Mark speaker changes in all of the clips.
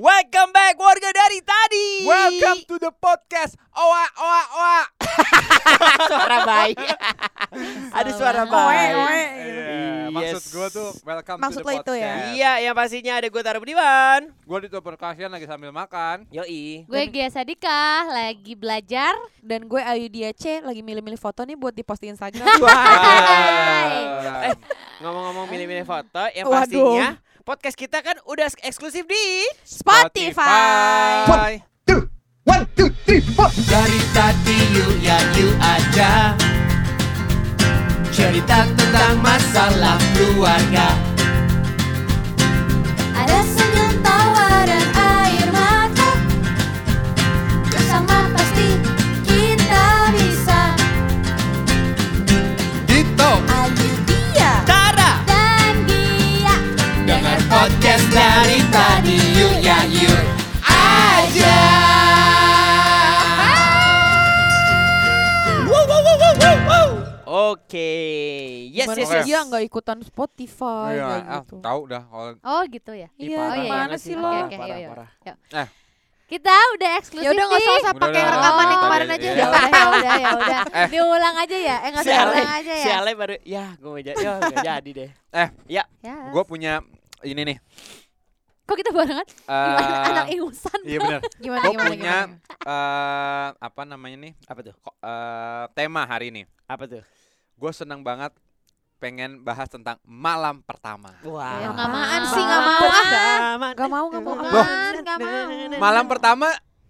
Speaker 1: Welcome back warga dari tadi.
Speaker 2: Welcome to the podcast. Oa oa oa.
Speaker 1: suara bayi. Ada suara
Speaker 3: Oe, oe,
Speaker 1: bayi.
Speaker 3: gitu.
Speaker 2: Iya, Maksud
Speaker 1: Yes.
Speaker 2: gue tuh welcome to
Speaker 3: Maksud lo
Speaker 2: the
Speaker 3: itu ya?
Speaker 2: podcast.
Speaker 1: Iya, yang pastinya ada gue Tara Budiman.
Speaker 2: Gue di perkasian lagi sambil makan.
Speaker 1: Yoi.
Speaker 4: Gue Gia Sadika lagi belajar.
Speaker 3: Dan gue Ayu Dia C lagi milih-milih foto nih buat diposting Instagram.
Speaker 2: Wah.
Speaker 1: Eh, ngomong-ngomong milih-milih foto, yang
Speaker 3: Waduh.
Speaker 1: pastinya podcast kita kan udah eksklusif di
Speaker 3: Spotify.
Speaker 2: Spotify.
Speaker 5: Dari tadi yuk ya yuk aja Cerita tentang masalah keluarga
Speaker 4: Ada senyum tawa dan air mata. Bersama pasti kita bisa.
Speaker 5: Dito
Speaker 4: Gitu.
Speaker 3: Ayu Dia.
Speaker 1: Tara.
Speaker 4: Dan dia
Speaker 5: Dengar podcast dari tadi yuk ya yuk aja
Speaker 1: Oke. Yes,
Speaker 3: Gimana
Speaker 1: yes,
Speaker 3: sih
Speaker 1: yes.
Speaker 3: Dia nggak ikutan Spotify
Speaker 2: Iya,
Speaker 3: kayak
Speaker 2: ah,
Speaker 3: gitu.
Speaker 2: tahu dah kalau
Speaker 4: Oh gitu ya.
Speaker 3: Iya,
Speaker 4: Oh, iya,
Speaker 3: mana
Speaker 4: iya.
Speaker 3: sih
Speaker 4: Oke,
Speaker 3: lo?
Speaker 4: oke,
Speaker 1: Parah,
Speaker 4: yuk,
Speaker 1: parah.
Speaker 4: yuk.
Speaker 2: Eh.
Speaker 4: Kita udah eksklusif.
Speaker 3: Ya udah nggak usah usah
Speaker 2: Udah,
Speaker 3: pakai
Speaker 2: udah, udah.
Speaker 3: rekaman yang
Speaker 2: Oh.
Speaker 3: kemarin aja.
Speaker 4: Ya udah, ya udah, ya udah.
Speaker 2: Eh.
Speaker 4: Diulang aja ya. Eh enggak
Speaker 1: Si
Speaker 4: usah
Speaker 1: Ale,
Speaker 4: diulang aja
Speaker 1: si
Speaker 4: ya.
Speaker 1: Ale baru, ya gue mau jadi, ya nggak jadi deh.
Speaker 2: Eh,
Speaker 4: Ya.
Speaker 2: gue punya ini nih.
Speaker 4: Kok kita barengan? Gimana
Speaker 2: eh,
Speaker 4: anak ingusan.
Speaker 2: Iya benar.
Speaker 3: Gimana
Speaker 2: Gue
Speaker 3: gimana
Speaker 2: punya
Speaker 3: gimana?
Speaker 2: eh apa namanya nih?
Speaker 1: Apa tuh?
Speaker 2: Ko- eh, tema hari ini.
Speaker 1: Apa tuh?
Speaker 2: Gue senang banget pengen bahas tentang malam pertama.
Speaker 1: Wah.
Speaker 3: Ya,
Speaker 4: nggak maan
Speaker 3: sih, nggak
Speaker 4: mau ah.
Speaker 3: Gak mau gak
Speaker 4: Nggak mau,
Speaker 3: mau. ah. Loh,
Speaker 4: nggak mau.
Speaker 2: Malam pertama,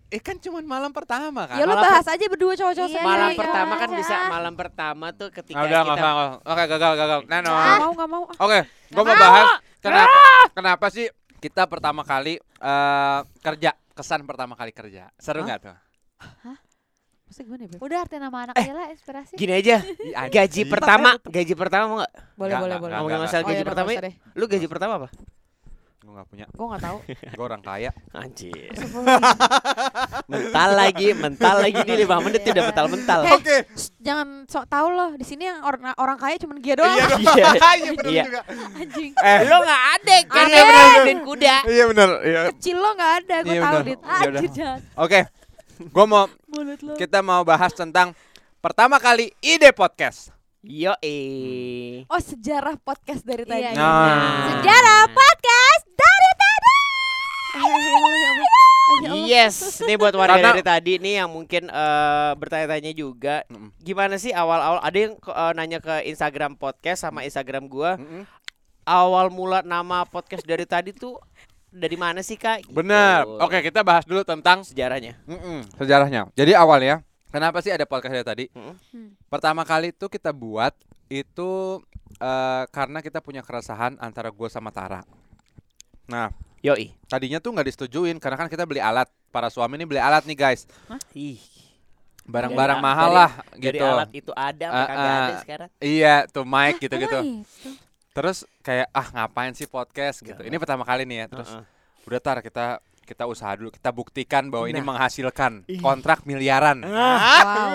Speaker 2: eh kan cuman malam pertama kan?
Speaker 3: Ya lo
Speaker 1: Malam
Speaker 3: bahas aja berdua cowok-cowok
Speaker 4: Iya,
Speaker 3: sendiri.
Speaker 1: malam
Speaker 4: iya,
Speaker 1: pertama kan
Speaker 4: iya.
Speaker 1: bisa malam pertama tuh ketika
Speaker 2: Ah, udah nggak
Speaker 1: kita
Speaker 2: usah, nggak usah. Oke gagal gagal. Nah, no.
Speaker 3: Gak mau gak mau. Ah,
Speaker 2: Oke, gue mau bahas kenapa kenapa sih kita pertama kali eh, kerja kesan pertama kali kerja seru
Speaker 3: Hah?
Speaker 2: nggak tuh?
Speaker 3: Maksudnya gimana ya? Beb?
Speaker 4: Udah arti nama anak Ella inspirasi.
Speaker 1: gini aja gaji pertama gaji pertama mau nggak
Speaker 2: Nggak,
Speaker 3: Boleh boleh
Speaker 2: nggak,
Speaker 3: boleh.
Speaker 2: nggak.
Speaker 1: ngomongin masalah
Speaker 3: Oh,
Speaker 1: gaji
Speaker 3: iya, udah,
Speaker 1: pertama
Speaker 3: nggak usah deh.
Speaker 1: lu gaji pertama apa
Speaker 2: Gue nggak punya,
Speaker 3: Gue gak tahu.
Speaker 2: gue orang kaya.
Speaker 1: anjir mental lagi mental lagi ini lima menit udah mental mental
Speaker 3: Oke. Eh, Jangan sok tahu loh. Di sini yang orang orang kaya cuma dia doang.
Speaker 1: Iya.
Speaker 2: Iya bener
Speaker 1: Iya.
Speaker 2: juga.
Speaker 3: Anjing.
Speaker 2: Eh,
Speaker 1: lo nggak ada kan
Speaker 3: Ada.
Speaker 1: dan kuda
Speaker 2: iya bener. Iya.
Speaker 3: Kecil lo gak ada. Gue
Speaker 2: Iya,
Speaker 3: tahu
Speaker 2: udah. Ya
Speaker 3: dit.
Speaker 2: udah.
Speaker 3: Anjir, jahat.
Speaker 2: Oke, gue mau
Speaker 3: Mulut lo.
Speaker 2: kita mau bahas tentang pertama kali ide podcast.
Speaker 1: yo
Speaker 3: Oh sejarah podcast dari tadi.
Speaker 4: Iya, iya.
Speaker 2: Nah,
Speaker 4: Sejarah podcast dari tadi.
Speaker 1: Yes, ini buat warga
Speaker 2: Karena-
Speaker 1: dari tadi nih yang mungkin eh, bertanya-tanya juga,
Speaker 2: Mm-mm.
Speaker 1: gimana sih awal-awal ada yang ke- eh, nanya ke Instagram podcast sama Instagram gua,
Speaker 2: Mm-mm.
Speaker 1: awal mula nama podcast dari tadi tuh dari mana sih kak? Gitu.
Speaker 2: bener. Oke, kita bahas dulu tentang
Speaker 1: sejarahnya.
Speaker 2: Mm-mm, sejarahnya. Jadi awalnya, kenapa sih ada podcast dari tadi?
Speaker 1: Mm-mm.
Speaker 3: Hmm.
Speaker 2: Pertama kali itu kita buat itu eh, karena kita punya keresahan antara gue sama Tara. Nah,
Speaker 1: Yoi.
Speaker 2: tadinya tuh nggak disetujuin karena kan kita beli alat. Para suami ini beli alat nih guys,
Speaker 1: Ih,
Speaker 2: barang-barang
Speaker 1: Dari-
Speaker 2: mahal
Speaker 1: dari-
Speaker 2: lah
Speaker 1: dari
Speaker 2: gitu.
Speaker 1: alat itu ada, apa
Speaker 2: Ah,
Speaker 1: kagak ada
Speaker 2: ah.
Speaker 1: sekarang.
Speaker 2: Iya, tuh
Speaker 4: Eh, Ah,
Speaker 2: mic
Speaker 4: gitu,
Speaker 2: gitu-gitu.
Speaker 4: Emang itu?
Speaker 2: Terus kayak ah ngapain sih podcast gitu.
Speaker 1: Nggak.
Speaker 2: Ini pertama kali nih ya. Terus
Speaker 1: Iya. Heeh.
Speaker 2: udah Tar kita kita usaha dulu, kita buktikan bahwa ini
Speaker 1: Nah.
Speaker 2: menghasilkan kontrak miliaran.
Speaker 1: Ah.
Speaker 2: Ah.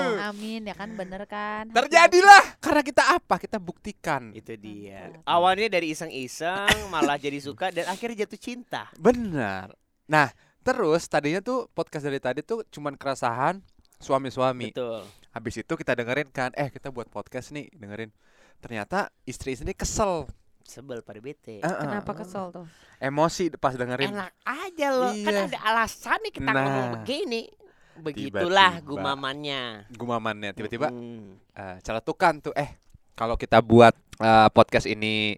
Speaker 4: Wow, amin ya kan bener kan.
Speaker 2: Terjadilah karena kita apa? Kita buktikan.
Speaker 1: itu dia. Awalnya dari iseng-iseng malah jadi suka dan akhirnya jatuh cinta.
Speaker 2: Benar. Nah, terus tadinya tuh podcast dari tadi tuh cuman keresahan suami-suami.
Speaker 1: Betul.
Speaker 2: Habis itu kita dengerin kan, eh kita buat podcast nih, dengerin. Ternyata istri-istri kesel.
Speaker 1: Sebel pada bete.
Speaker 2: Heeh.
Speaker 3: Kenapa kesel tuh?
Speaker 2: Emosi pas
Speaker 1: Iya,
Speaker 2: dengerin.
Speaker 1: Enak aja loh, kan
Speaker 2: Iya.
Speaker 1: ada alasannya kita ngomong
Speaker 2: Nah.
Speaker 1: begini. Begitulah
Speaker 2: Tiba-tiba.
Speaker 1: gumamannya.
Speaker 2: Gumamannya tiba-tiba
Speaker 1: Mm.
Speaker 2: eh, celetukan tuh, eh kalau kita buat eh, podcast ini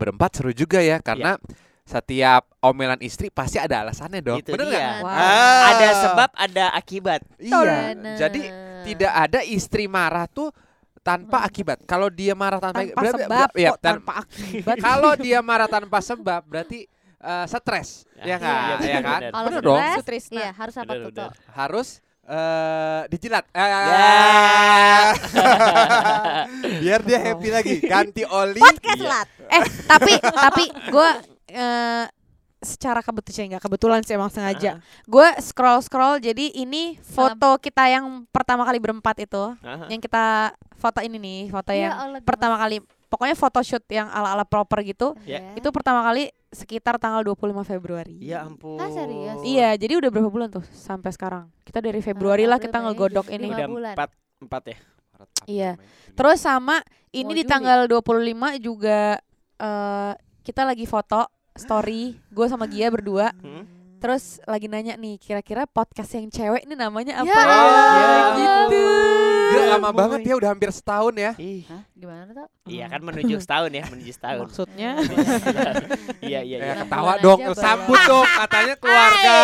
Speaker 2: berempat seru juga ya karena setiap omelan istri pasti ada alasannya dong.
Speaker 1: Iya. Itu
Speaker 2: Bener nggak?
Speaker 1: Gitu dia.
Speaker 3: Wow.
Speaker 2: Ah.
Speaker 1: Ada sebab, ada akibat.
Speaker 2: Iya.
Speaker 4: Bener.
Speaker 2: Jadi tidak ada istri marah tuh tanpa akibat. Kalau dia marah tanpa,
Speaker 3: Tanpa
Speaker 2: berarti-
Speaker 3: sebab
Speaker 2: iya,
Speaker 3: kok
Speaker 2: tan-
Speaker 3: tanpa akibat.
Speaker 2: kalau dia marah tanpa sebab berarti eh, stres,
Speaker 1: Ya,
Speaker 2: ya, kan?
Speaker 4: iya,
Speaker 2: Ya,
Speaker 1: benar,
Speaker 2: kan?
Speaker 1: benar.
Speaker 4: Kalau
Speaker 2: Bener
Speaker 4: stres,
Speaker 2: dong.
Speaker 3: Sutrisna.
Speaker 4: Iya, harus apa
Speaker 1: Udah,
Speaker 4: tuh?
Speaker 1: udah.
Speaker 4: Tok?
Speaker 2: Harus eh, dijilat. Eh,
Speaker 1: Ya.
Speaker 2: Biar dia happy lagi. Ganti oli. Iya.
Speaker 3: Eh tapi tapi gue eh secara kebetulan nggak kebetulan sih emang sengaja. Gue scroll scroll jadi ini foto kita yang pertama kali berempat itu,
Speaker 1: Aha.
Speaker 3: yang kita foto ini nih foto
Speaker 4: Ya
Speaker 3: yang
Speaker 4: Allah, gemes.
Speaker 3: pertama kali. Pokoknya photoshoot yang ala ala proper gitu.
Speaker 1: Ya.
Speaker 4: Iya.
Speaker 3: Itu pertama kali sekitar tanggal 25 Februari.
Speaker 1: Ya ampun.
Speaker 4: Ah, serius?
Speaker 3: Iya, jadi udah berapa bulan tuh sampai sekarang? Kita dari Februari lah kita
Speaker 4: April, Mei,
Speaker 3: ngegodok
Speaker 4: Juni,
Speaker 3: ini.
Speaker 4: Lima
Speaker 1: Udah
Speaker 4: bulan.
Speaker 1: empat empat ya.
Speaker 2: Maret, April,
Speaker 3: Iya.
Speaker 2: Mei, Juni.
Speaker 3: Terus sama ini
Speaker 4: Mau
Speaker 3: di
Speaker 4: Juli.
Speaker 1: ya?
Speaker 3: tanggal 25 juga eh kita lagi foto story gue sama Gia berdua.
Speaker 1: Hmm?
Speaker 3: Terus lagi nanya nih kira-kira podcast yang cewek ini namanya apa?
Speaker 4: Ya
Speaker 1: Iya, Allah.
Speaker 3: gitu.
Speaker 2: Gila, Ah. lama
Speaker 1: Boy.
Speaker 2: banget ya udah hampir setahun ya.
Speaker 1: Ih,
Speaker 4: Hah? Gimana Ya. tuh?
Speaker 1: iya kan menuju setahun ya, menuju setahun.
Speaker 3: Maksudnya
Speaker 1: Iya iya
Speaker 2: Ya
Speaker 1: iya.
Speaker 4: Enam
Speaker 2: ketawa
Speaker 4: bulan
Speaker 2: dong,
Speaker 4: aja baru.
Speaker 2: sambut dong katanya keluarga.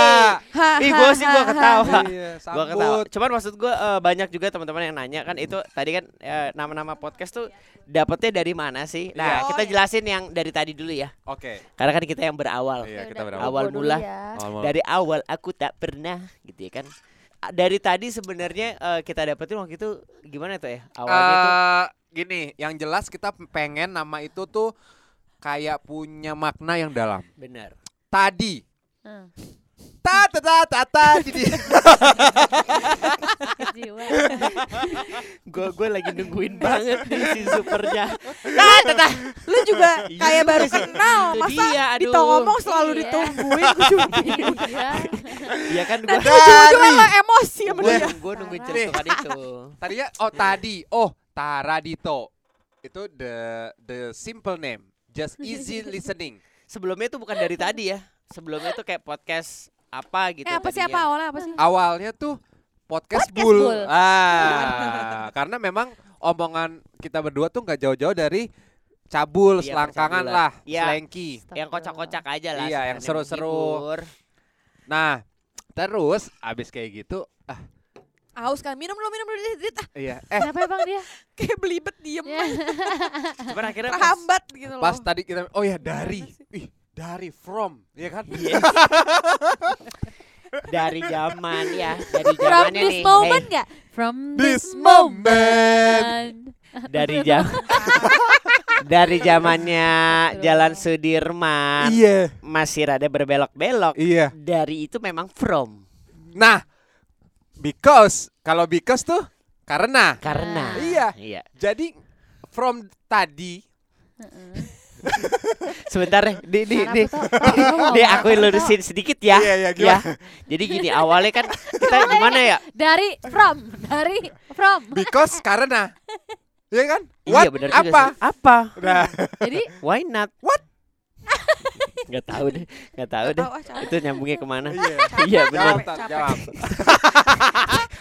Speaker 1: Ih, gua sih gua ketawa.
Speaker 2: Iya,
Speaker 1: Gua ketawa.
Speaker 2: sambut.
Speaker 1: Cuman maksud gua eh, banyak juga teman-teman yang nanya kan itu tadi kan eh, nama-nama podcast tuh dapetnya dari mana sih? Nah,
Speaker 3: Iya.
Speaker 1: kita
Speaker 3: Oh, iya.
Speaker 1: jelasin yang dari tadi dulu ya.
Speaker 2: Oke.
Speaker 1: Karena kan kita yang berawal.
Speaker 2: Iya, kita
Speaker 4: Yaudah,
Speaker 2: berawal.
Speaker 1: Awal
Speaker 4: gua dulu
Speaker 1: mula.
Speaker 4: ya.
Speaker 2: Awal.
Speaker 1: Dari awal aku tak pernah gitu ya kan. A- Dari tadi sebenarnya eh, kita dapetin waktu itu gimana tuh ya? Awalnya tuh
Speaker 2: Eh, gini, yang jelas kita pengen nama itu tuh kayak punya makna yang dalam.
Speaker 1: benar.
Speaker 2: Tadi
Speaker 4: Hmm,
Speaker 2: ta ta ta ta ta jadi
Speaker 4: jiwa.
Speaker 1: Gue gue lagi nungguin banget nih si supernya. Ah,
Speaker 3: Lu juga kayak baru kenal
Speaker 1: Itu
Speaker 3: masa
Speaker 1: dia, Iya. aduh.
Speaker 3: Dito ngomong selalu
Speaker 4: Iya.
Speaker 3: ditungguin gue juga bingung.
Speaker 4: Iya.
Speaker 1: Iya kan gue
Speaker 3: Nanti ujung-ujung lo emosi sama
Speaker 1: gue
Speaker 3: dia.
Speaker 1: gue nungguin
Speaker 4: Parah.
Speaker 1: celutukan itu.
Speaker 2: tadinya oh tadi oh Tara Dito itu the the simple name just easy listening
Speaker 1: Sebelumnya tuh bukan dari tadi ya. Sebelumnya tuh kayak podcast apa gitu.
Speaker 3: Eh apa sih
Speaker 1: tadinya.
Speaker 3: apa awalnya apa sih?
Speaker 2: awalnya tuh podcast,
Speaker 4: Podcast
Speaker 2: bull.
Speaker 4: Bull.
Speaker 2: Ah, karena memang omongan kita berdua tuh nggak jauh-jauh dari cabul,
Speaker 1: Iya,
Speaker 2: selangkangan
Speaker 1: percabulan.
Speaker 2: lah,
Speaker 1: Iya.
Speaker 2: selengki.
Speaker 1: Yang kocak-kocak aja lah.
Speaker 2: Iya, yang
Speaker 1: sebenarnya,
Speaker 2: seru-seru.
Speaker 1: menghibur.
Speaker 2: Nah, terus abis kayak gitu, ah,
Speaker 3: Haus kan minum lo minum dulu dit, dit. Ah,
Speaker 2: iya, eh
Speaker 4: Kenapa emang dia?
Speaker 3: kayak belibet diem
Speaker 4: Ya.
Speaker 1: Cuman akhirnya pas,
Speaker 3: terhambat gitu loh.
Speaker 2: pas tadi kita, oh ya dari, ih dari from, ya kan?
Speaker 1: Iya. dari zaman ya, dari
Speaker 4: From
Speaker 1: zamannya
Speaker 4: this
Speaker 1: nih.
Speaker 4: moment
Speaker 1: Hey,
Speaker 4: nggak? From this
Speaker 2: This
Speaker 4: moment.
Speaker 2: moment.
Speaker 1: Eh, dari jam dari zamannya
Speaker 4: Betul.
Speaker 1: Jalan Sudirman
Speaker 2: Iya,
Speaker 1: masih rada berbelok-belok.
Speaker 2: iya.
Speaker 1: Dari itu memang from
Speaker 2: Nah, because kalau because tuh karena,
Speaker 1: karena.
Speaker 2: Iya.
Speaker 1: Iya.
Speaker 2: jadi from tadi
Speaker 4: Heeh.
Speaker 1: Sebentar deh, di di
Speaker 4: Kenapa
Speaker 1: di.
Speaker 4: tuh? Lu mau
Speaker 1: Deh
Speaker 4: apa
Speaker 1: aku
Speaker 4: tuh?
Speaker 1: lurusin sedikit ya.
Speaker 2: Iya, iya,
Speaker 1: ya.
Speaker 2: gimana?
Speaker 1: Jadi gini awalnya kan kita gimana ya?
Speaker 4: Dari from, dari from.
Speaker 2: Because karena, ya kan?
Speaker 1: iya
Speaker 2: What?
Speaker 1: benar juga
Speaker 2: apa?
Speaker 1: sih. Apa?
Speaker 2: Nah,
Speaker 4: Jadi
Speaker 1: Why not?
Speaker 2: What?
Speaker 1: Gak tahu deh, gak tahu deh.
Speaker 3: Tahu, ah, capek.
Speaker 1: Itu nyambungnya kemana?
Speaker 2: iya.
Speaker 1: Iya benar.
Speaker 2: Jawab, Tat,
Speaker 3: Capek.
Speaker 2: jawab.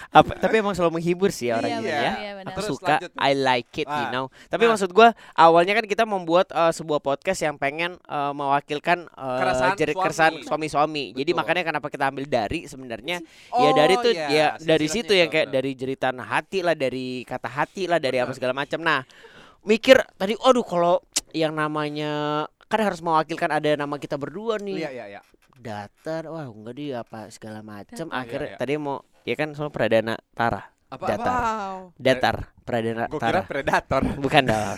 Speaker 1: Apa, tapi emang selalu menghibur sih
Speaker 4: Iya,
Speaker 1: orangnya
Speaker 2: benar,
Speaker 1: ya.
Speaker 4: iya, benar.
Speaker 1: Aku
Speaker 2: Terus
Speaker 1: suka,
Speaker 2: lanjut.
Speaker 1: I like it, you
Speaker 2: Ah.
Speaker 1: know. Tapi
Speaker 2: Ah.
Speaker 1: maksud gua awalnya kan kita membuat eh, sebuah podcast yang pengen eh, mewakilkan eh,
Speaker 2: Keresahan
Speaker 1: jerit
Speaker 2: suami.
Speaker 1: keresahan suami-suami. Jadi
Speaker 2: Betul.
Speaker 1: makanya kenapa kita ambil dari sebenarnya ya dari
Speaker 2: Oh,
Speaker 1: tuh
Speaker 2: iya,
Speaker 1: ya dari
Speaker 2: silsilahnya
Speaker 1: situ yang
Speaker 2: itu,
Speaker 1: kayak
Speaker 2: benar.
Speaker 1: dari jeritan hati lah, dari kata hati lah, dari apa segala macam. Nah, mikir tadi, aduh kalau yang namanya kan harus mewakilkan ada nama kita berdua nih
Speaker 2: Iya, iya, iya.
Speaker 1: datar wah enggak dia apa segala macam
Speaker 4: Datar.
Speaker 1: akhirnya
Speaker 2: Iya, iya.
Speaker 1: tadi mau ya kan sama pradana Tara
Speaker 2: Apa
Speaker 1: Data.
Speaker 3: Wow.
Speaker 1: datar pradana
Speaker 2: Gue kira
Speaker 1: Tara
Speaker 2: predator.
Speaker 1: bukan dong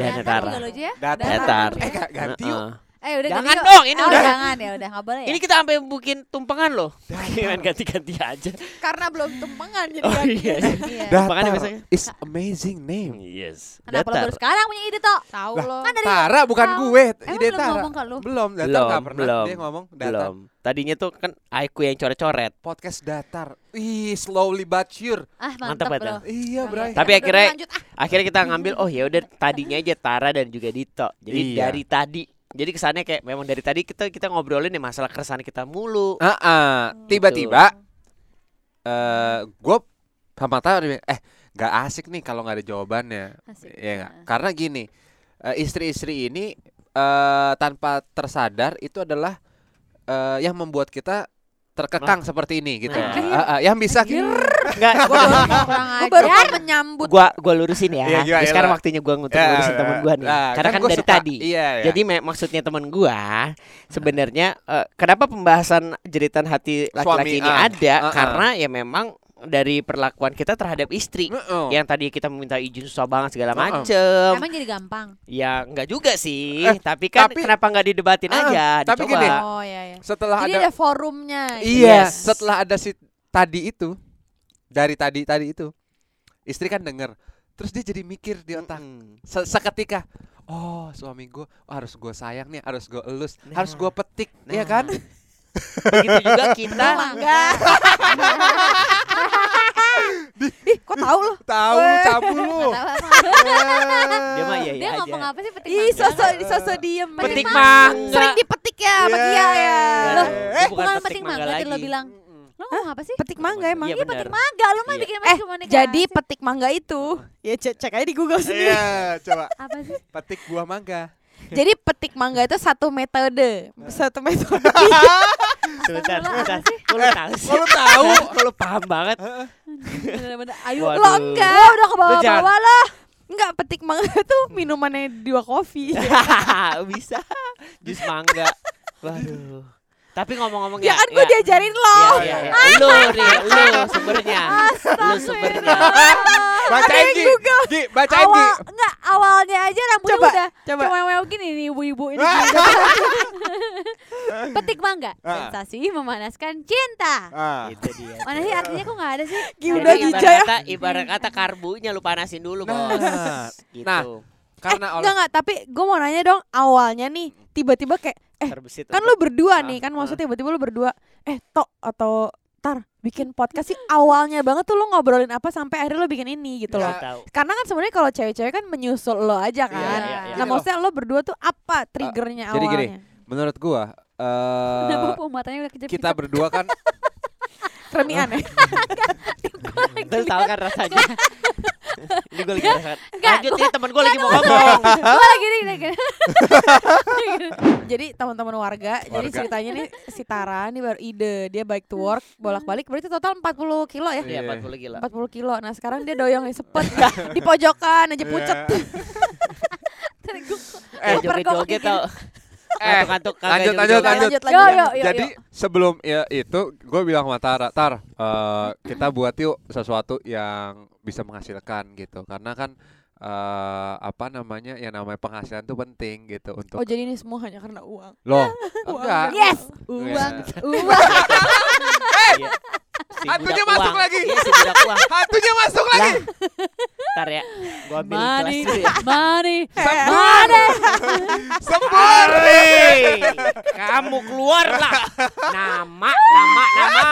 Speaker 1: Dan
Speaker 4: Datar
Speaker 1: Tara.
Speaker 4: juga lu aja ya?
Speaker 2: Datar.
Speaker 1: Datar.
Speaker 4: Eh,
Speaker 2: Eh, gak ganti yuk.
Speaker 1: Heeh.
Speaker 4: Eh udah
Speaker 1: Jangan
Speaker 4: ganti yuk.
Speaker 1: dong, ini
Speaker 4: Oh,
Speaker 1: udah.
Speaker 4: Jangan ya udah nggak boleh ya.
Speaker 1: ini kita sampai bikin tumpengan loh Gimana Iya, ganti-ganti aja
Speaker 3: Karena belum tumpengan jadi
Speaker 1: oh
Speaker 3: kan.
Speaker 1: iya
Speaker 4: Iya.
Speaker 1: Makanya
Speaker 2: Datar
Speaker 1: biasanya-
Speaker 2: is amazing name.
Speaker 1: yes
Speaker 4: Kenapa lo
Speaker 1: datar
Speaker 4: baru sekarang punya ide toh?
Speaker 3: tahu
Speaker 2: Lah,
Speaker 3: lo.
Speaker 4: Kan dari
Speaker 2: Tara bukan
Speaker 4: Tahu.
Speaker 2: gue,
Speaker 4: Emang
Speaker 2: ide
Speaker 4: belum
Speaker 2: Tara.
Speaker 4: ngomong ke lu?
Speaker 2: Belum, Datar
Speaker 1: belum
Speaker 2: gak pernah
Speaker 1: belum
Speaker 2: dia ngomong Datar.
Speaker 1: belum tadinya tuh kan aku yang coret-coret
Speaker 2: Podcast Datar. Ih, slowly but sure.
Speaker 4: Ah
Speaker 1: Mantap,
Speaker 4: mantap
Speaker 1: Datar.
Speaker 4: lo.
Speaker 2: Iya, Bray.
Speaker 1: Tapi
Speaker 3: Udah,
Speaker 1: akhirnya-
Speaker 3: lanjut, ah.
Speaker 1: akhirnya kita ngambil oh ya udah tadinya aja Tara dan juga Dito jadi
Speaker 2: Iya.
Speaker 1: dari tadi jadi kesannya kayak memang dari tadi kita kita ngobrolin nih masalah keresahan kita mulu
Speaker 2: Ah, ah, tiba-tiba eh gue sama Tara dia bilang, eh gak asik nih kalau nggak ada jawabannya.
Speaker 4: Asik. ya. Nah,
Speaker 2: Iya nggak? Karena gini, eh, istri-istri ini eh tanpa tersadar itu adalah eh, yang membuat kita terkekang seperti ini gitu.
Speaker 1: Nah.
Speaker 2: Eh, eh, yang bisa
Speaker 1: Enggak,
Speaker 3: Gua
Speaker 1: gua-
Speaker 3: baru- kurang
Speaker 4: Gua
Speaker 3: ajar.
Speaker 4: baru mau
Speaker 3: menyambut.
Speaker 1: gua gua lurusin ya.
Speaker 2: Iya, gila,
Speaker 1: Ini sekarang
Speaker 2: gila.
Speaker 1: waktunya gua untuk
Speaker 2: Ya,
Speaker 1: lurusin temen gua nih.
Speaker 2: nah,
Speaker 1: Karena kan,
Speaker 2: gua
Speaker 1: dari
Speaker 2: suka.
Speaker 1: tadi.
Speaker 2: Iya, iya.
Speaker 1: Jadi me- maksudnya temen gua sebenarnya eh, kenapa pembahasan jeritan hati laki-laki
Speaker 2: Suami,
Speaker 1: ini
Speaker 2: ah.
Speaker 1: ada
Speaker 2: Ah, ah.
Speaker 1: karena ya memang dari perlakuan kita terhadap istri
Speaker 2: Heeh.
Speaker 1: yang tadi kita meminta izin susah banget segala
Speaker 2: Ah, ah.
Speaker 1: macem
Speaker 4: Emang jadi gampang.
Speaker 1: ya enggak juga sih
Speaker 2: Eh,
Speaker 1: tapi kan
Speaker 2: tapi-
Speaker 1: kenapa nggak didebatin
Speaker 2: Ah,
Speaker 1: aja
Speaker 2: tapi
Speaker 1: dicoba.
Speaker 2: gini.
Speaker 3: Oh iya iya.
Speaker 2: setelah
Speaker 3: Jadi
Speaker 2: ada
Speaker 3: ada forumnya.
Speaker 2: Iya,
Speaker 1: Yes.
Speaker 2: setelah ada si tadi itu dari tadi tadi itu istri kan denger terus dia jadi mikir di otak
Speaker 1: Mm-mm.
Speaker 2: Se- seketika oh suami gue harus gue sayang nih harus gue elus
Speaker 1: Nah.
Speaker 2: harus gue petik ya
Speaker 1: Nah.
Speaker 2: kan
Speaker 1: Begitu juga kita
Speaker 3: Enggak. Ih, kok tahu lo?
Speaker 2: tahu
Speaker 3: Weh.
Speaker 2: cabu
Speaker 4: Iya,
Speaker 2: lu
Speaker 1: dia mah iya iya
Speaker 4: Dia ngomong
Speaker 1: aja.
Speaker 4: apa sih petik
Speaker 3: Ih,
Speaker 4: mangga?
Speaker 3: sosok sosok diem. ya.
Speaker 1: Petik mangga. Iya.
Speaker 3: Sering dipetik ya sama dia ya.
Speaker 1: Enggak,
Speaker 3: Lo
Speaker 4: Loh,
Speaker 2: Eh,
Speaker 1: itu
Speaker 4: bukan petik mangga tadi lo
Speaker 1: lagi.
Speaker 4: bilang.
Speaker 1: Mm-mm.
Speaker 4: Lo ngomong apa sih?
Speaker 3: petik mangga emang.
Speaker 1: Iya
Speaker 4: Iya
Speaker 1: benar.
Speaker 4: petik mangga, lo mah
Speaker 1: Iya.
Speaker 4: bikin
Speaker 3: Eh,
Speaker 4: masih komunikasi.
Speaker 3: jadi petik mangga itu ya cek, cek aja di Google sendiri.
Speaker 2: iya coba
Speaker 4: apa sih?
Speaker 2: petik buah mangga
Speaker 3: Jadi petik mangga itu satu metode,
Speaker 1: Eh.
Speaker 3: satu metode.
Speaker 1: Sebentar,
Speaker 4: Astagfirullah,
Speaker 1: sebentar.
Speaker 4: apa sih?
Speaker 1: Kok lu tahu sih?
Speaker 2: Kok lu tahu
Speaker 1: Kok lu paham banget?
Speaker 4: Bener-bener. Ayo
Speaker 1: Waduh.
Speaker 3: Lo enggak.
Speaker 4: Lo udah ke
Speaker 1: Lu jangan- Hmm.
Speaker 4: bawah-bawah lah.
Speaker 3: Enggak petik mangga tuh minumannya dua kopi.
Speaker 1: Ya, Bisa. Jus mangga. Waduh. Tapi ngomong-ngomong
Speaker 3: ya
Speaker 1: ya.
Speaker 3: kan gue
Speaker 1: ya.
Speaker 3: diajarin lo.
Speaker 1: Iya, iya, iya. Lu nih, lu sumbernya. Lu sumbernya.
Speaker 3: Ah,
Speaker 2: bacain Gi Gi bacain Gi
Speaker 4: Awal enggak awalnya aja rambutnya
Speaker 3: Coba,
Speaker 4: udah
Speaker 3: coba.
Speaker 4: cuma wew gini nih ibu-ibu ini. Petik mangga,
Speaker 2: Ah.
Speaker 4: sensasi memanaskan cinta.
Speaker 2: Ah.
Speaker 1: Itu Gitu dia.
Speaker 4: Mana sih artinya kok enggak ada sih?
Speaker 3: Gi, udah
Speaker 1: Jadi
Speaker 3: Gija
Speaker 1: ibarat
Speaker 3: ya.
Speaker 1: kata, ibarat kata karbunya lu panasin dulu, Bos.
Speaker 2: Nah.
Speaker 1: Gitu.
Speaker 2: Nah, karena
Speaker 3: eh,
Speaker 2: oleh
Speaker 3: enggak enggak, tapi gue mau nanya dong awalnya nih tiba-tiba kayak eh
Speaker 1: Terbesit.
Speaker 3: kan
Speaker 1: untuk-
Speaker 3: lu berdua
Speaker 1: Ah,
Speaker 3: nih kan
Speaker 1: ah.
Speaker 3: maksudnya tiba-tiba lu berdua eh tok atau tar bikin podcast sih awalnya banget tuh lu ngobrolin apa sampai akhirnya lu bikin ini gitu
Speaker 1: Nggak
Speaker 3: loh.
Speaker 1: tahu.
Speaker 3: Karena kan sebenarnya kalau cewek-cewek kan menyusul lo aja kan.
Speaker 1: Iya, iya, iya.
Speaker 3: Nah maksudnya lo berdua tuh apa triggernya
Speaker 2: jadi
Speaker 3: awalnya?
Speaker 2: gini, menurut gua eh,
Speaker 4: Kenapa pematanya udah kejepit?
Speaker 2: kita berdua kan
Speaker 3: Remian ya?
Speaker 1: Lu tahu kan rasanya. Ini gue lagi rasakan.
Speaker 4: Enggak,
Speaker 1: Lanjut nih teman gue lagi mau ngomong.
Speaker 4: Gua Oh, lagi nih, lagi.
Speaker 3: jadi teman-teman warga, jadi
Speaker 2: Warga.
Speaker 3: ceritanya nih si Tara ini baru ide dia bike to work bolak-balik berarti total 40 kilo ya.
Speaker 1: Iya,
Speaker 2: Iya.
Speaker 1: 40 gila.
Speaker 3: 40 kilo. Nah, sekarang dia doyong yang sepet di pojokan
Speaker 2: Iya.
Speaker 3: aja pucet.
Speaker 4: Tadi gua-
Speaker 1: Eh,
Speaker 3: Lu pergok
Speaker 1: joget-joget
Speaker 3: gini.
Speaker 1: tau.
Speaker 2: Eh,
Speaker 1: Ngantuk-ngantuk,
Speaker 2: lanjut,
Speaker 1: kagak
Speaker 2: lanjut,
Speaker 1: joget-joget.
Speaker 2: lanjut.
Speaker 4: Yo
Speaker 3: lanjut.
Speaker 4: yo yo.
Speaker 2: Jadi
Speaker 4: yo.
Speaker 2: sebelum ya itu gue bilang sama Tara, Tar, eh, kita buat yuk sesuatu yang bisa menghasilkan gitu. Karena kan eh, apa namanya yang namanya penghasilan tuh penting gitu untuk
Speaker 3: Oh, iya. jadi ini semua hanya karena uang.
Speaker 2: loh
Speaker 3: Uang.
Speaker 2: enggak.
Speaker 4: Yes,
Speaker 2: Uang.
Speaker 4: uang.
Speaker 1: Iya. Si
Speaker 2: Hantunya
Speaker 1: budak
Speaker 2: masuk
Speaker 1: uang.
Speaker 2: lagi.
Speaker 1: Iya, si budak uang.
Speaker 2: Hantunya masuk lagi.
Speaker 1: Ntar ya, gua ambil kelas
Speaker 4: Money,
Speaker 1: dulu ya.
Speaker 4: money,
Speaker 3: Eh,
Speaker 2: Sembur.
Speaker 1: kamu keluarlah. Nama, nama, nama.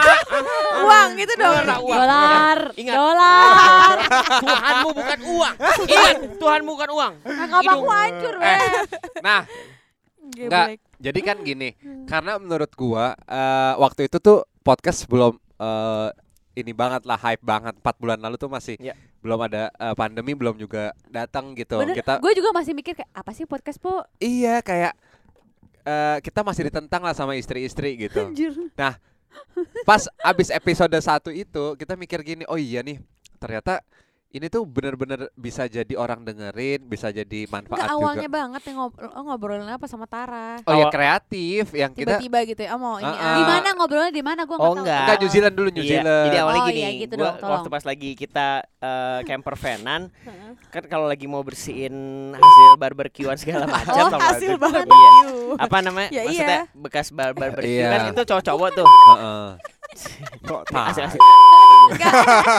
Speaker 3: uang gitu dong.
Speaker 1: Keluarlah uang.
Speaker 4: Iya dolar,
Speaker 1: Ingat.
Speaker 4: dolar.
Speaker 1: Tuhanmu bukan uang. Ingat, Tuhanmu bukan uang.
Speaker 4: Kakak aku hancur,
Speaker 2: Eh,
Speaker 4: weh.
Speaker 2: Nah, Enggak.
Speaker 3: Geblek.
Speaker 2: Jadi kan gini, karena menurut gua eh, waktu itu tuh podcast belum eh, ini banget lah hype banget. 4 bulan lalu tuh masih
Speaker 1: Iya.
Speaker 2: belum ada eh, pandemi, belum juga datang gitu.
Speaker 4: Bener,
Speaker 2: Kita
Speaker 4: gue juga masih mikir kayak apa sih podcast po?
Speaker 2: iya kayak eh, kita masih ditentang lah sama istri-istri gitu.
Speaker 4: Anjir.
Speaker 2: Pas abis episode 1 itu kita mikir gini, oh iya nih, ternyata ini tuh bener-bener bisa jadi orang dengerin, bisa jadi manfaat
Speaker 3: Enggak awalnya
Speaker 2: juga.
Speaker 3: banget nih ngobrol, oh, ngobrolin apa sama Tara.
Speaker 2: Oh ya
Speaker 1: Awal-
Speaker 2: kreatif yang kita
Speaker 3: Tiba-tiba gitu ya, oh, mau ini.
Speaker 2: Ah,
Speaker 3: ah.
Speaker 4: Di mana ngobrolnya di mana gue
Speaker 1: Oh, enggak.
Speaker 2: Enggak New Zealand dulu New
Speaker 1: Iya, Jadi
Speaker 2: Zealand.
Speaker 1: awalnya
Speaker 4: Oh,
Speaker 1: gini,
Speaker 4: iya, gitu
Speaker 1: gua
Speaker 4: dong, tolong.
Speaker 1: waktu pas lagi kita eh, camper vanan, kan kalau lagi mau bersihin hasil barbekyuan segala macam,
Speaker 3: Oh,
Speaker 1: tau gak?
Speaker 3: hasil banget
Speaker 1: Iya.
Speaker 3: you.
Speaker 1: apa namanya?
Speaker 3: Ya,
Speaker 1: Maksudnya
Speaker 3: iya.
Speaker 1: bekas bar barbekyuan
Speaker 2: Iya.
Speaker 1: kan itu cowok-cowok tuh.
Speaker 2: Heeh. Kok tahu?
Speaker 1: Asik-asik.
Speaker 3: Enggak,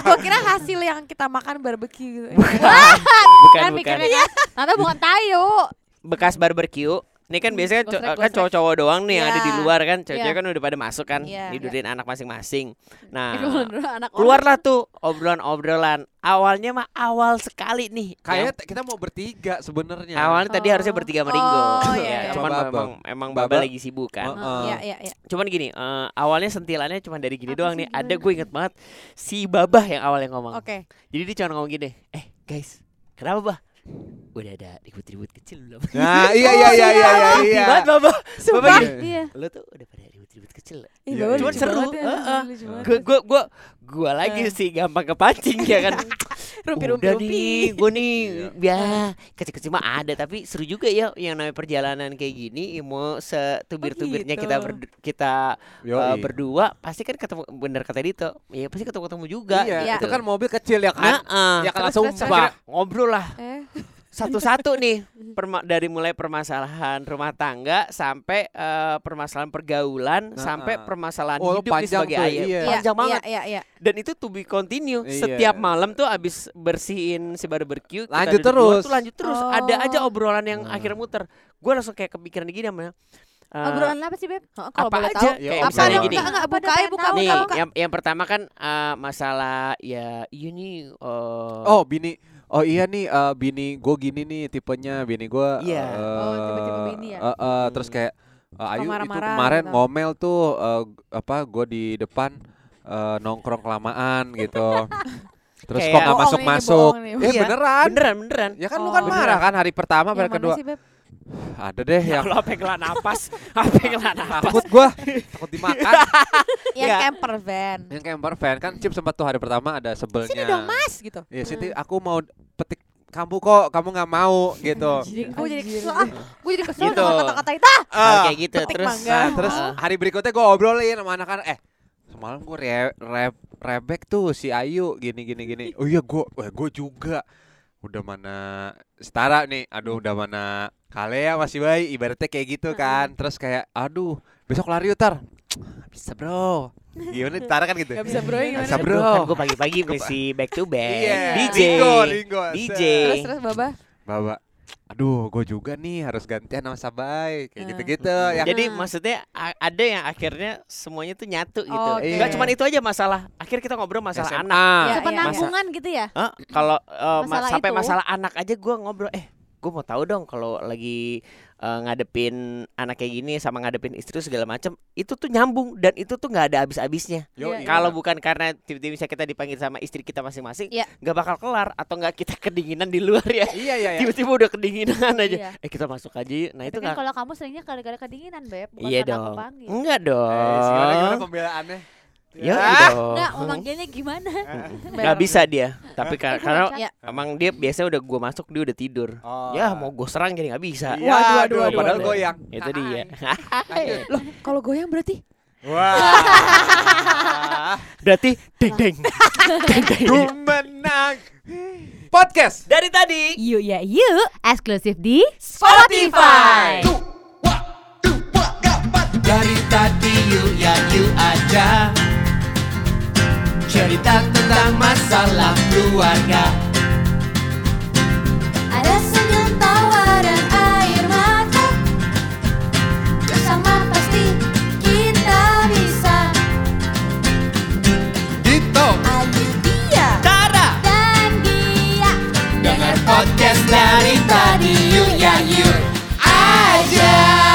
Speaker 3: gue kira hasil yang kita makan barbeque gitu.
Speaker 1: Bukan,
Speaker 4: Kan
Speaker 1: bukan.
Speaker 4: mikirnya kan, ternyata bukan tayo.
Speaker 1: bekas barbecue ini kan biasanya co-
Speaker 4: Gosrek,
Speaker 1: kan
Speaker 4: gosrek.
Speaker 1: cowok-cowok doang nih yang ada di
Speaker 3: Hmm, Iya.
Speaker 1: luar kan cewek-cewek
Speaker 4: Iya.
Speaker 1: kan udah pada masuk kan
Speaker 3: Iya.
Speaker 1: tidurin anak masing-masing nah
Speaker 4: anak
Speaker 1: keluarlah tuh obrolan-obrolan awalnya mah awal sekali nih Yang
Speaker 2: Kayaknya t- kita mau bertiga sebenarnya.
Speaker 1: awalnya tadi
Speaker 4: Oh.
Speaker 1: harusnya bertiga meringo
Speaker 3: Oh,
Speaker 1: Ya,
Speaker 3: iya, iya.
Speaker 1: cuman
Speaker 2: Sama Baba.
Speaker 1: memang emang
Speaker 2: Baba. Oh.
Speaker 1: baba lagi sibuk kan
Speaker 2: Heeh.
Speaker 3: Iya, iya, iya.
Speaker 1: cuman gini eh, awalnya sentilannya cuman dari gini
Speaker 4: Apa
Speaker 1: doang
Speaker 4: sih,
Speaker 1: nih
Speaker 4: gimana?
Speaker 1: ada gue inget banget si babah yang awalnya ngomong
Speaker 3: Oke.
Speaker 1: jadi dia cuma ngomong gini eh guys kenapa bah udah ada ribut-ribut kecil belum
Speaker 2: Nah, iya iya iya iya iya.
Speaker 1: Ngerti
Speaker 2: iya.
Speaker 1: banget babah babah
Speaker 3: Sumpah.
Speaker 1: gini
Speaker 4: Iya.
Speaker 1: lo tuh udah pada ribut-ribut kecil
Speaker 3: Ih,
Speaker 2: Iya,
Speaker 3: Bapak
Speaker 2: iya.
Speaker 1: Cuman
Speaker 3: lucu
Speaker 1: seru,
Speaker 3: banget ya,
Speaker 1: heeh.
Speaker 3: lucu banget.
Speaker 1: gue gue gue gue lagi sih gampang kepancing ya kan
Speaker 3: Rumpi, rumpi,
Speaker 1: udah
Speaker 3: rumpi.
Speaker 1: nih gue nih
Speaker 2: Iya.
Speaker 1: ya kecil-kecil mah ada tapi seru juga ya yang namanya perjalanan kayak gini mau setubir-tubirnya
Speaker 3: gitu.
Speaker 1: kita berdu- kita
Speaker 2: Yoi.
Speaker 1: uh, berdua pasti kan ketemu bener kata Dito ya pasti ketemu-ketemu juga
Speaker 2: Iya,
Speaker 1: gitu.
Speaker 2: itu kan mobil kecil ya
Speaker 1: Nah,
Speaker 2: kan.
Speaker 1: uh,
Speaker 2: Ya kalau
Speaker 3: Terus, terus,
Speaker 2: sumpah.
Speaker 1: ngobrol lah
Speaker 3: Eh,
Speaker 1: satu-satu nih perma- dari mulai permasalahan rumah tangga sampai eh, permasalahan pergaulan
Speaker 2: Nah,
Speaker 1: sampai
Speaker 2: ah.
Speaker 1: permasalahan
Speaker 2: Oh,
Speaker 1: hidup nih
Speaker 2: panjang
Speaker 1: sebagai
Speaker 2: tuh,
Speaker 1: ayah.
Speaker 2: iya.
Speaker 3: Iya,
Speaker 1: Panjang banget.
Speaker 3: Iya, iya, iya.
Speaker 1: Dan itu to be continue.
Speaker 2: Iya.
Speaker 1: Setiap malam tuh abis bersihin si baru barbecue, kita
Speaker 2: Lanjut
Speaker 1: duduk di luar
Speaker 2: terus.
Speaker 1: tuh lanjut terus.
Speaker 3: Oh.
Speaker 1: Ada aja obrolan yang
Speaker 2: Nah.
Speaker 1: akhirnya muter. Gue langsung kayak kepikiran gini sama eh,
Speaker 6: Obrolan apa sih, Beb?
Speaker 3: Oh, kalau
Speaker 1: apa
Speaker 3: boleh
Speaker 1: aja
Speaker 3: tahu.
Speaker 2: Ya,
Speaker 1: kayak
Speaker 2: obrolan.
Speaker 3: Apa
Speaker 1: misalnya
Speaker 3: dong?
Speaker 1: gini
Speaker 3: Enggak, enggak,
Speaker 6: Apa
Speaker 3: buka,
Speaker 6: ada
Speaker 3: aja,
Speaker 6: yang
Speaker 3: buka,
Speaker 6: tahu?
Speaker 3: buka,
Speaker 1: nih
Speaker 3: buka.
Speaker 1: yang yang pertama kan eh, masalah ya ini eh,
Speaker 2: Oh bini Oh iya nih eh, bini gue gini nih tipenya bini gue
Speaker 1: Iya.
Speaker 6: Oh, tipe-tipe bini ya?
Speaker 2: eh, eh, Terus kayak eh, Ayu itu
Speaker 3: marah-marah
Speaker 2: kemarin
Speaker 3: gitu.
Speaker 2: ngomel tuh eh, g- apa gue di depan eh, nongkrong kelamaan gitu Terus
Speaker 1: Kayak-
Speaker 2: kok nggak
Speaker 3: Bohong nih,
Speaker 2: masuk-masuk
Speaker 3: bohong nih.
Speaker 2: Eh
Speaker 1: Iya.
Speaker 2: beneran
Speaker 1: beneran beneran
Speaker 2: Ya kan lu
Speaker 3: Oh. Iya,
Speaker 2: kan marah kan hari pertama
Speaker 3: Yang
Speaker 2: hari
Speaker 3: mana
Speaker 2: kedua
Speaker 3: sih, Beb?
Speaker 2: Ada deh
Speaker 1: ya
Speaker 2: yang
Speaker 1: kalau apa kela napas apa kela napas
Speaker 2: takut gue Takut dimakan
Speaker 3: Yang
Speaker 1: Iya.
Speaker 3: camper van.
Speaker 2: Yang camper fan kan Cip sempat tuh hari pertama ada sebelnya
Speaker 3: Sini dong, Mas, gitu.
Speaker 2: Iya Siti aku mau petik kamu kok kamu nggak mau gitu
Speaker 3: Gue jadi
Speaker 6: Anjir.
Speaker 3: kesel, ah. Gue jadi kesel
Speaker 1: Gitu.
Speaker 3: sama kata-kata itu. ah.
Speaker 1: Hal
Speaker 2: Ah.
Speaker 1: kayak gitu
Speaker 3: petik
Speaker 1: terus
Speaker 3: mangga.
Speaker 2: Nah, terus
Speaker 1: Ah.
Speaker 2: hari berikutnya gue obrolin sama anak-anak eh semalam gue re re- rebek tuh si Ayu gini gini gini. Oh iya gue gue juga udah mana setara nih. Aduh udah mana kalea masih bayi ibaratnya kayak gitu kan. Terus kayak aduh besok lari utar. Bisa bro. Gimana Tara kan gitu. Iya.
Speaker 3: Gak bisa bro, gimana?
Speaker 2: Bisa, bro.
Speaker 1: kan gue pagi-pagi mesti back to back DJ
Speaker 2: Ringo, Ringo,
Speaker 1: DJ
Speaker 2: set.
Speaker 3: Terus, terus, Baba.
Speaker 2: Baba. Aduh, gue juga nih harus gantian sama Sabai kayak
Speaker 3: Hmm.
Speaker 2: gitu-gitu. ya
Speaker 1: jadi maksudnya a- ada yang akhirnya semuanya tuh nyatu gitu
Speaker 3: Oke.
Speaker 1: nggak cuma itu aja masalah akhirnya kita ngobrol masalah
Speaker 2: SMA.
Speaker 1: anak
Speaker 3: Iya, iya.
Speaker 6: Sepenanggungan gitu ya?
Speaker 1: Hah? kalau eh, ma-
Speaker 6: Masalah
Speaker 1: sampai
Speaker 6: itu.
Speaker 1: masalah anak aja gue ngobrol eh gue mau tahu dong kalau lagi eh, ngadepin anak kayak gini sama ngadepin istri segala macam itu tuh nyambung dan itu tuh nggak ada habis-habisnya
Speaker 2: Yoi.
Speaker 3: Iya,
Speaker 1: kalau bukan karena tiba-tiba bisa kita dipanggil sama istri kita masing-masing
Speaker 6: Iya.
Speaker 1: nggak bakal kelar atau nggak kita kedinginan di luar ya
Speaker 2: iya iya iya.
Speaker 1: tiba-tiba udah kedinginan
Speaker 6: Iya.
Speaker 1: aja eh kita masuk aja yuk. nah itu
Speaker 6: Tapi kan
Speaker 1: nggak
Speaker 6: kalau kamu seringnya gara-gara kedinginan, Beb. Bukan
Speaker 1: iya
Speaker 6: karena aku
Speaker 1: dong
Speaker 6: panggil.
Speaker 1: enggak
Speaker 2: Eh, gimana gimana
Speaker 1: dong
Speaker 2: pembelaannya?
Speaker 1: Yoi
Speaker 2: Ah.
Speaker 1: dong
Speaker 6: Enggak, memanggilnya gimana?
Speaker 1: nggak bisa dia tapi kar- karena
Speaker 6: Iya.
Speaker 1: emang dia biasanya udah gue masuk dia udah tidur
Speaker 2: Oh.
Speaker 1: ya mau gue serang jadi nggak bisa
Speaker 2: Iya,
Speaker 3: Waduh,
Speaker 2: aduh,
Speaker 3: waduh, waduh,
Speaker 2: padahal
Speaker 1: waduh. Nah.
Speaker 2: goyang.
Speaker 1: itu dia
Speaker 3: Loh, kalau goyang berarti
Speaker 2: Wah.
Speaker 1: berarti deng deng deng deng
Speaker 2: Ku menang. Podcast.
Speaker 1: dari tadi
Speaker 7: Yuk ya yuk, eksklusif di
Speaker 1: Spotify.
Speaker 5: Dari tadi you ya you aja Cerita tentang masalah keluarga
Speaker 4: Ada senyum tawa dan air mata Bersama pasti kita bisa
Speaker 5: Dito
Speaker 4: Ayu dia
Speaker 5: Tara
Speaker 4: dan dia
Speaker 5: Dengar podcast dari tadi you ya you aja